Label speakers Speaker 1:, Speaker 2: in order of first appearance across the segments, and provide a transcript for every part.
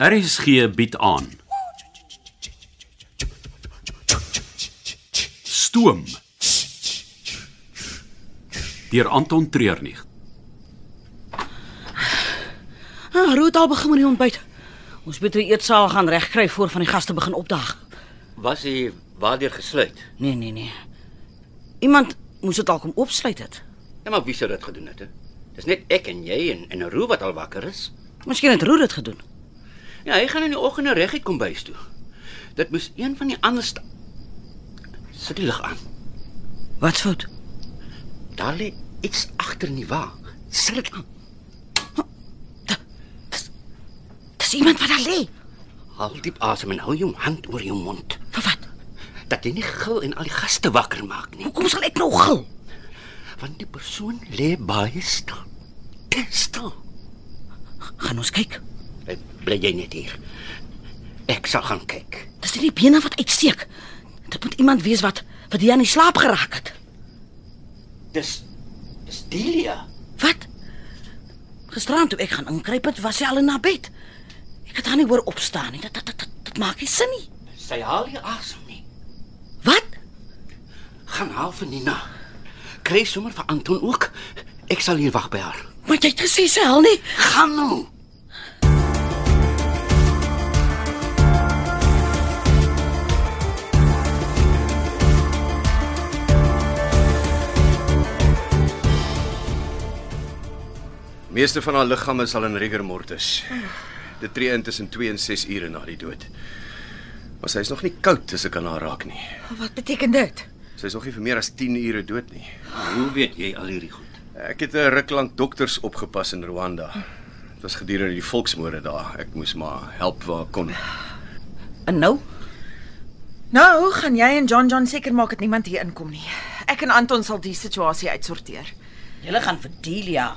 Speaker 1: RSG bied aan. Stoom. Deur Anton Treurnig.
Speaker 2: Ah, Roet al begin met die ontbyt. Ons moet die eetsaal gaan regkry voor van die gaste begin opdaag.
Speaker 3: Was hy waardeur gesluit?
Speaker 2: Nee, nee, nee. Iemand moes dit al kom oopsluit het.
Speaker 3: Ja, maar wie sou dit gedoen het? He? Dis net ek en jy en en Roo wat al wakker is.
Speaker 2: Miskien het Roet dit gedoen.
Speaker 3: Ja, hy gaan in die oggend reguit kom bys toe. Dit moes een van die ander sta- sit die lig aan.
Speaker 2: Wat fout?
Speaker 3: Daar lê iets agter in die wa. Sit dit aan.
Speaker 2: Dis iemand wat daar lê.
Speaker 3: Haal diep asem en hou jou hand oor jou mond
Speaker 2: Vir wat?
Speaker 3: dat jy nie gil en al die gaste wakker maak nie,
Speaker 2: Hoekom sal ek nou gil?
Speaker 3: want die persoon lê baie stil. Te stil.
Speaker 2: Gaan ons kyk.
Speaker 3: Hey, Bly jy net hier. Ek sal gaan kyk.
Speaker 2: Dis nie die bene wat uitsteek. Dit moet iemand wees wat wat hier aan die slaap geraak het.
Speaker 3: Dis dis Delia.
Speaker 2: Wat? Gisterand toe ek gaan inkruip het, was sy al in haar bed. Ek het haar nie hoor opstaan nie. Dit dit dit, dit maak nie sin nie.
Speaker 3: Sy haal nie asem nie.
Speaker 2: Wat?
Speaker 3: Gaan haal vir Nina. Kry sommer vir Anton ook. Ek sal hier wag by haar.
Speaker 2: Maar jy het gesê sy hel nie.
Speaker 3: Gaan nou.
Speaker 4: Meeste van haar liggame is al in rigor mortis. Dit tree in tussen 2 en 6 ure na die dood. Maar sy is nog nie koud as ek aan haar raak nie.
Speaker 5: Wat beteken dit?
Speaker 4: Sy is nog nie vir meer as 10 ure dood nie.
Speaker 3: Hoe weet jy al hierdie goed?
Speaker 4: Ek het 'n ruk lank dokters opgepas in Rwanda. Dit was gedurende die volksmoorde daar. Ek moes maar help waar ek kon.
Speaker 2: En nou?
Speaker 5: Nou gaan jy en John John seker maak dat niemand hier inkom nie. Ek en Anton sal die situasie uitsorteer.
Speaker 2: Julle gaan vir Delia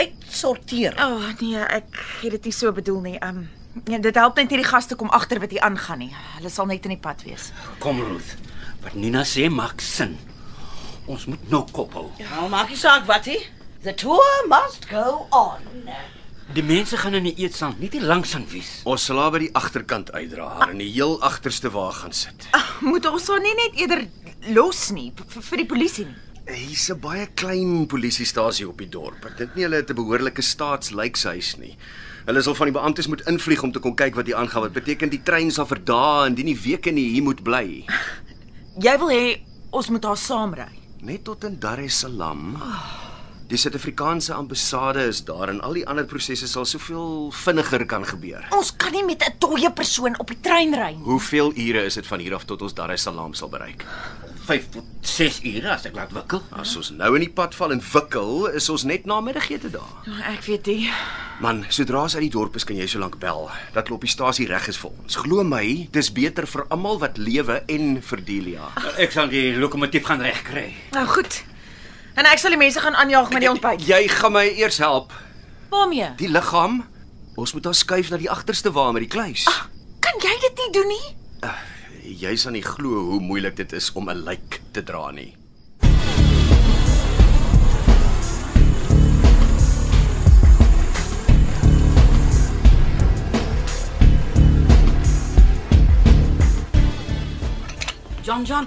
Speaker 2: uitsorteer.
Speaker 5: O oh, nee, ek het dit nie so bedoel nie. Um ja, dit help net hierdie gaste kom agter wat hier aangaan nie. Hulle sal net in die pad wees.
Speaker 3: Kom Ruth. Wat Nina sê maak sin. Ons moet nou koppel.
Speaker 2: Nou maak nie saak wat hy. The tour must go on.
Speaker 3: Die mense gaan in die eetsaal nie te langs aan wees.
Speaker 4: Ons sal haar by die agterkant uitdra, haar in die heel agterste wa gaan sit.
Speaker 5: Moet ons haar nie net eerder los nie v- v- vir die polisie nie.
Speaker 4: Hier's 'n baie klein polisiestasie op die dorp. Ek dink nie hulle het 'n behoorlike staatslykshuis nie. Hulle sal van die beamptes moet invlieg om te kom kyk wat hier aangaan. Wat beteken die trein sal vir dae en die nie weke nie hier moet bly.
Speaker 5: Jy wil hê ons moet haar saamry.
Speaker 4: Net tot in Dar es Salaam. Die Suid-Afrikaanse ambassade is daar en al die ander prosesse sal soveel vinniger kan gebeur.
Speaker 5: Ons kan nie met 'n dooie persoon op die trein ry nie.
Speaker 4: Hoeveel ure is dit van hier af tot ons Dar es Salaam sal bereik?
Speaker 3: 5 tot 6 ure as ek laat wikkel.
Speaker 4: As ons nou in die pad val en wikkel, is ons net na middagete daar.
Speaker 5: Ja, Ek weet nie.
Speaker 4: Man, sodra as uit die dorp is, kan jy so lank bel dat hulle op die stasie reg is vir ons. Glo my, dis beter vir almal wat lewe en ja. vir Delia.
Speaker 3: Ek sal die lokomotief gaan regkry.
Speaker 5: Nou goed. En ek sal die mense gaan aanjaag met die ontbyt.
Speaker 4: Jy gaan my eers help.
Speaker 5: Waarmee?
Speaker 4: Die liggaam, ons moet haar skuif na die agterste wa met die kluis.
Speaker 5: Kan jy dit nie doen nie?
Speaker 4: Jy sal nie glo hoe moeilik dit is om 'n lijk te dra nie.
Speaker 2: John John,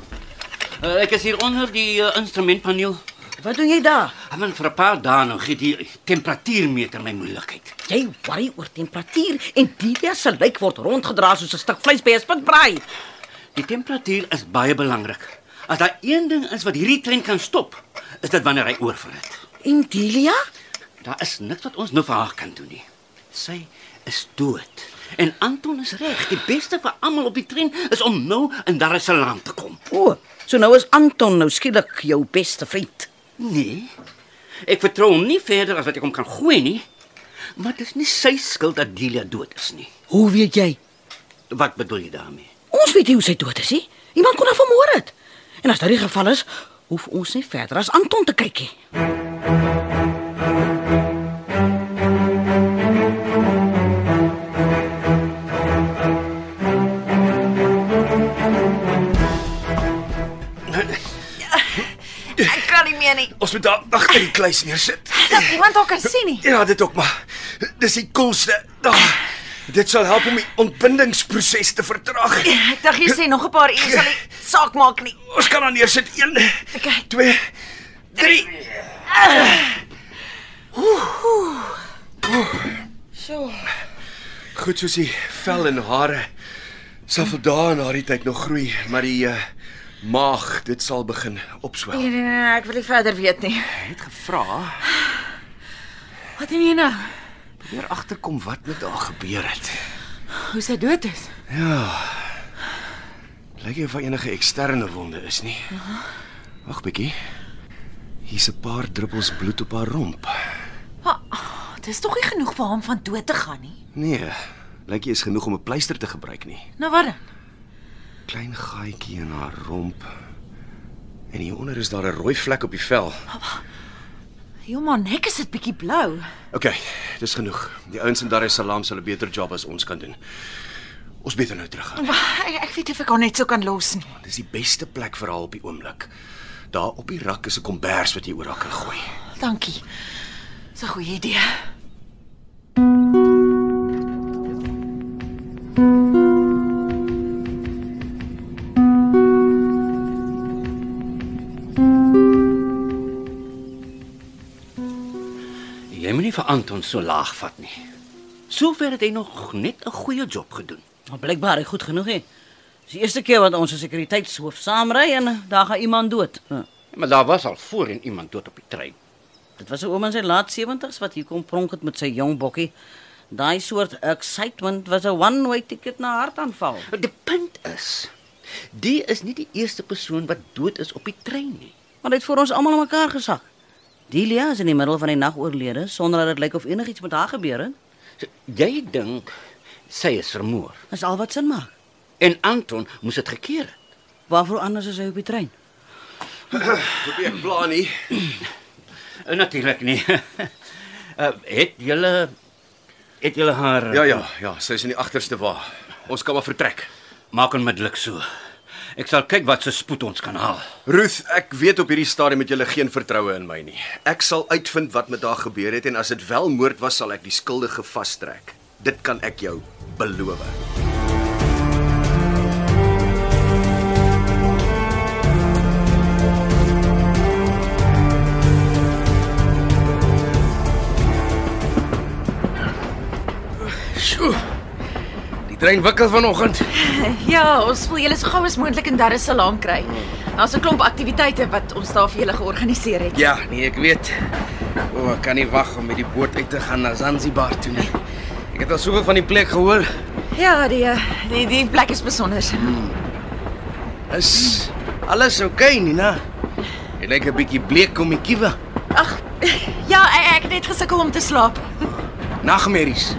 Speaker 3: Uh, ek is hier onder die uh, instrumentpaneel.
Speaker 2: wat doen jy daar?
Speaker 3: Ek wil vir 'n paar dae nog gee die temperatuurmeter my moeilikheid.
Speaker 2: Jy worry oor temperatuur en Delia se lyk word rondgedra soos 'n stuk vleis by 'n spitbraai.
Speaker 3: Die temperatuur is baie belangrik. As daar een ding is wat hierdie trein kan stop, is dit wanneer hy oorvrit.
Speaker 2: En Delia?
Speaker 3: Daar is niks wat ons nou vir haar kan doen nie. Sy is dood. En Anton is reg. Die beste vir almal op die trein is om nou in Dar es Salaam te kom.
Speaker 2: O, oh, so nou is Anton nou skielik jou beste vriend.
Speaker 3: Nee. Ek vertrou hom nie verder as wat ek hom kan gooi nie. Maar dit is nie sy skuld dat Delia dood is nie.
Speaker 2: Hoe weet jy?
Speaker 3: Wat bedoel jy daarmee?
Speaker 2: Ons weet nie hoe sy dood is nie. Iemand kon haar vermoor het. En as dit die geval is, hoef ons nie verder as Anton te kyk nie.
Speaker 5: Ek kan nie meer nie.
Speaker 4: Nee, Ons moet daar agter die kluis neersit.
Speaker 5: Dat iemand haar kan sien nie.
Speaker 4: Ja, dit ook maar. Dis die koelste. Daar. Dit sal help om die ontbindingsproses te vertraag.
Speaker 5: Ek dink jy sê nog 'n paar ure sal die saak maak nie.
Speaker 4: Ons kan dan neersit 1, 2, 3.
Speaker 5: So.
Speaker 4: Goed soos die vel en hare sal vir dae na die tyd nog groei, maar die uh, maag, dit sal begin opswel.
Speaker 5: Nee, nee, nee, ek wil nie verder weet nie.
Speaker 4: Hy het gevra
Speaker 5: Wat doen jy nou?
Speaker 4: Probeer agterkom wat met haar gebeur het.
Speaker 5: Hoe sy dood is.
Speaker 4: Lyk nie of daar enige eksterne wonde is nie. Wag bietjie. Hier's 'n paar druppels bloed op haar romp.
Speaker 5: Maar oh, dis tog nie genoeg vir hom van dood te gaan nie.
Speaker 4: Nee, lyk nie is genoeg om 'n pleister te gebruik nie.
Speaker 5: Nou wat dan?
Speaker 4: Klein gaatjie in haar romp. En hieronder is daar 'n rooi vlek op die vel.
Speaker 5: Helemaal nek is dit bietjie blou.
Speaker 4: OK, dis genoeg. Die ouens in Dar es Salaam sal 'n beter job as ons kan doen. Ons beter nou teruggaan.
Speaker 5: Ek, ek weet nie of ek haar net so kan los nie.
Speaker 4: Dis die beste plek vir haar op die oomblik. Daar op die rak is 'n kombers wat jy oor haar kan gooi.
Speaker 5: Dankie. Dis 'n goeie idee.
Speaker 3: Jy moenie vir Anton so laag vat nie. Sover het hy nog net 'n goeie job gedoen.
Speaker 2: Maar blykbaar hy goed genoeg hè. Dis die eerste keer wat ons 'n sekuriteitshoof saamry en daar gaan iemand dood. Hm.
Speaker 3: Maar daar was al voorheen iemand dood op die trein.
Speaker 2: Dit was 'n oom in sy laat 70's wat hier kom pronk het met sy jong bokkie. Daai soort excitement was 'n one-way ticket na hartaanval.
Speaker 3: Die punt is, die is nie die eerste persoon wat dood is op die trein nie.
Speaker 2: Maar dit het vir ons almal aan mekaar gesak. Delia is in die middel van die nag oorlede sonder dat dit lyk of enigiets met haar gebeur het.
Speaker 3: So, jy dink sy is vermoor
Speaker 2: Dis al wat sin maak.
Speaker 3: en Anton moes dit gekeer het.
Speaker 2: Waarvoor anders is hy op die trein?
Speaker 4: Probeer plan nie.
Speaker 3: Eh, Natuurlik nie. uh, het julle het julle haar
Speaker 4: Ja ja, ja, sy is in die agterste wa. Ons kan maar vertrek.
Speaker 3: maak onmiddellik so. Ek sal kyk wat se spoed ons kan haal.
Speaker 4: Ruth, ek weet op hierdie stadium het julle geen vertroue in my nie. Ek sal uitvind wat met haar gebeur het en as dit wel moord was, sal ek die skuldige vastrek. Dit kan ek jou beloof.
Speaker 3: Sjoe. Die trein wikkel vanoggend.
Speaker 5: Ja, ons wil julle so gou as moontlik in Dar es Salaam kry. Daar's 'n klomp aktiwiteite wat ons daar vir julle georganiseer het.
Speaker 6: Ja, nee, ek weet. O, ek kan nie wag om met die boot uit te gaan na Zanzibar toe nie. Ek het al soveel van die plek gehoor.
Speaker 5: Ja, die eh, die, die plek is besonder.
Speaker 6: Is alles oukei, okay, Nina? Jy lyk 'n bietjie bleek om die kiewe.
Speaker 5: Ag, ja, ek, ek het net gesukkel om te slaap.
Speaker 6: Nagmerries.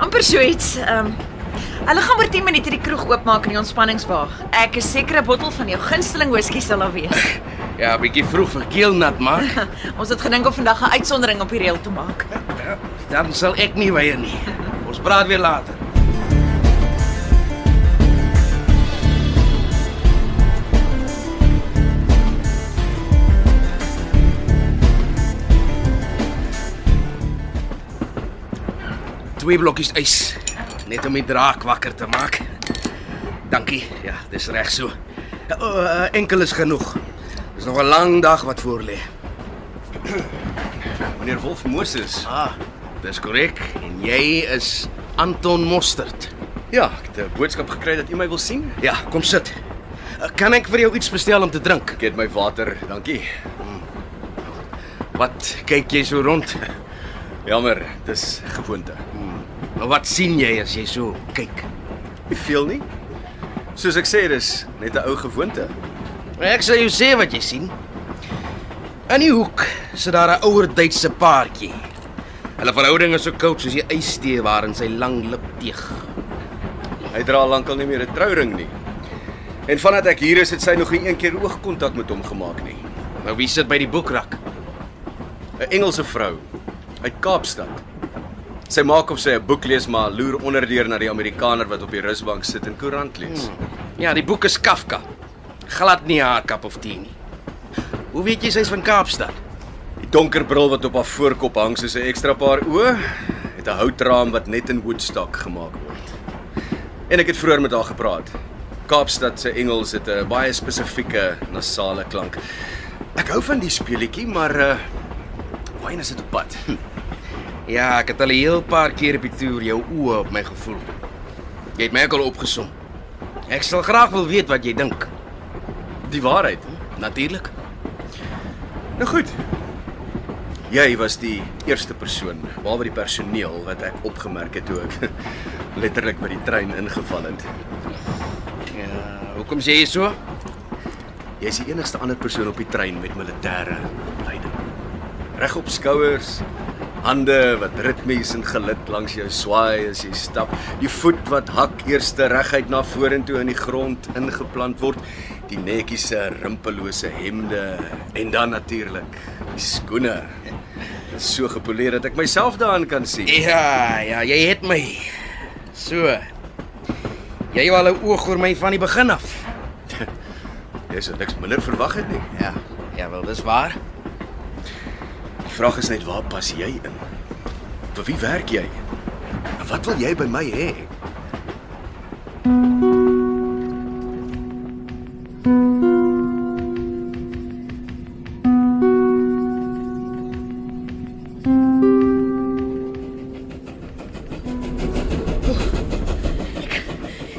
Speaker 5: amper so iets. Ehm um, hulle gaan oor 10 minute die kroeg oopmaak in die ontspanningswa. Ek is seker 'n bottel van jou gunsteling whisky sal daar wees.
Speaker 6: Ja, 'n bietjie vroeg vir keelnat maak.
Speaker 5: Ons het gedink om vandag 'n uitsondering op die reël te maak.
Speaker 6: Dan sal ek nie weier nie. Ons praat weer later. Twee blokkies ys, net om die draak wakker te maak. Dankie. Ja, dis reg so. Uh, enkel is genoeg. Dis nog 'n lang dag wat voor lê.
Speaker 4: Meneer Wolf Moses.
Speaker 6: Ah, dis korrek. En jy is Anton Mostert.
Speaker 4: Ja, ek het 'n boodskap gekry dat u my wil sien.
Speaker 6: Ja, kom sit. Kan ek vir jou iets bestel om te drink?
Speaker 4: Ek het my water, dankie.
Speaker 6: Wat kyk jy so rond?
Speaker 4: Jammer, dis gewoonte.
Speaker 6: Nou wat sien jy as jy so kyk?
Speaker 4: Nie veel nie. Soos ek sê, dis net 'n ou gewoonte.
Speaker 6: Ek sal jou sê wat jy sien. In die hoek sit daar 'n ouer Duitse paartjie. Hulle verhouding is so koud soos die ystee waarin sy lang lip teeg.
Speaker 4: Hy dra al lankal nie meer 'n trouring nie. En vandat ek hier is, het sy nog nie een keer oogkontak met hom gemaak nie.
Speaker 6: Nou wie sit by die boekrak?
Speaker 4: 'n Engelse vrou uit Kaapstad. Sy maak of sy 'n boek lees, maar loer onderdeur na die Amerikaner wat op die rusbank sit en koerant lees.
Speaker 6: Ja, die boek is Kafka. Glad nie haar kap of tee nie. Hoe weet jy sy's van Kaapstad?
Speaker 4: Die donker bril wat op haar voorkop hang soos 'n ekstra paar oë het 'n houtraam wat net in Woodstock gemaak word. En ek het vroeër met haar gepraat. Kaapstad se Engels het 'n baie spesifieke nasale klank. Ek hou van die speletjie, maar uh wyn is dit op pad. Hm.
Speaker 6: Ja, ek het al 'n heel paar keer op die toer jou oë op my gevoel. Jy het my ook al opgesom. Ek sal graag wil weet wat jy dink.
Speaker 4: Die waarheid.
Speaker 6: Natuurlik.
Speaker 4: Nou goed. Jy was die eerste persoon, behalwe die personeel wat ek opgemerk het toe ek letterlik by die trein ingeval het.
Speaker 6: Ja, hoekom sê jy so?
Speaker 4: Jy's die enigste ander persoon op die trein met militêre opleiding. Reg op skouers, hande wat ritmies en gelid langs jou swaai as jy stap, die voet wat hak eerste reguit na vorentoe in die grond ingeplant word, die netjies se rimpellose hemde en dan natuurlik die skoene. Dit is so gepoleer dat ek myself daarin kan sien.
Speaker 6: Ja, ja, jy het my. So. Jy het al 'n oog oor my van die begin af.
Speaker 4: Jy sou niks minder verwag het nie.
Speaker 6: Ja. Ja, wel, dis waar.
Speaker 4: Die vraag is net waar pas jy in? Vir wie werk jy? En wat wil jy by my hê?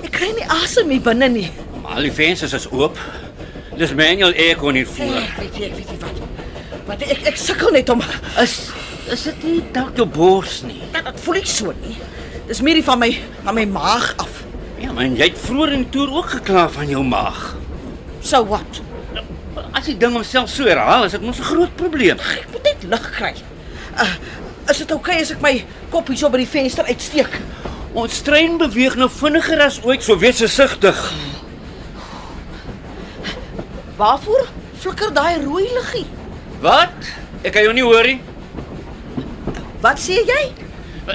Speaker 2: Ek kry nie asem hier binne nie.
Speaker 3: Al die vensters is oop. Dis manual aircon hier voor.
Speaker 2: Ek weet nie, ek weet nie wat. Wat ek ek sukkel net om
Speaker 3: Is
Speaker 6: Eh,
Speaker 3: is dit nie dalk jou bors nie?
Speaker 2: dit dit voel ek so nie. Dis meer die van my van my maag af.
Speaker 3: Ja, maar jy het vroeër in die toer ook gekla van jou maag.
Speaker 2: So wat?
Speaker 3: As die ding homself so herhaal, is dit mos 'n groot probleem.
Speaker 2: Ek moet net lug kry. Uh, is dit oukei okay as ek my kop hierso by die venster uitsteek?
Speaker 3: Ons trein beweeg nou vinniger as ooit, so wees versigtig.
Speaker 2: Waarvoor flikker daai rooi liggie?
Speaker 3: Wat? Ek kan jou nie hoor nie.
Speaker 2: Wat sê jy?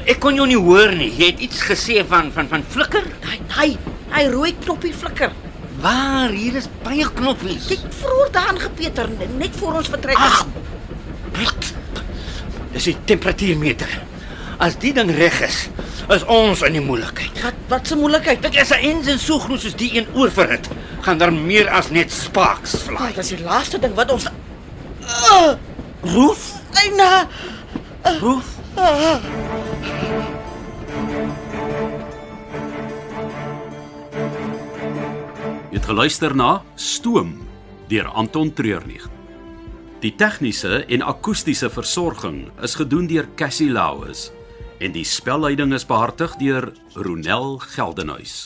Speaker 3: Ek kon jou nie hoor nie. Jy het iets gesê van van van flikker.
Speaker 2: Daai daai daai rooi knoppie flikker.
Speaker 3: Waar? Hier is baie knoppies.
Speaker 2: Kyk vroeër daaraan gepeter net voor ons vertrek.
Speaker 3: Ag. Wat? Dis die temperatuurmeter. As die ding reg is, is ons in die moeilikheid.
Speaker 2: wat wat se moeilikheid.
Speaker 3: Dit is 'n enjin so groot soos die een oor vir dit. Gaan daar meer as net spaaks
Speaker 2: Ai,
Speaker 3: vlaai.
Speaker 2: dit is die laaste ding wat ons uh,
Speaker 3: Roef,
Speaker 2: Eina.
Speaker 3: roef.
Speaker 1: Jy het geluister na Stoom deur Anton Treurnig. Die tegniese en akoestiese versorging is gedoen deur Cassie Lauis en die spelleiding is behartig deur Ronel Geldenhuys.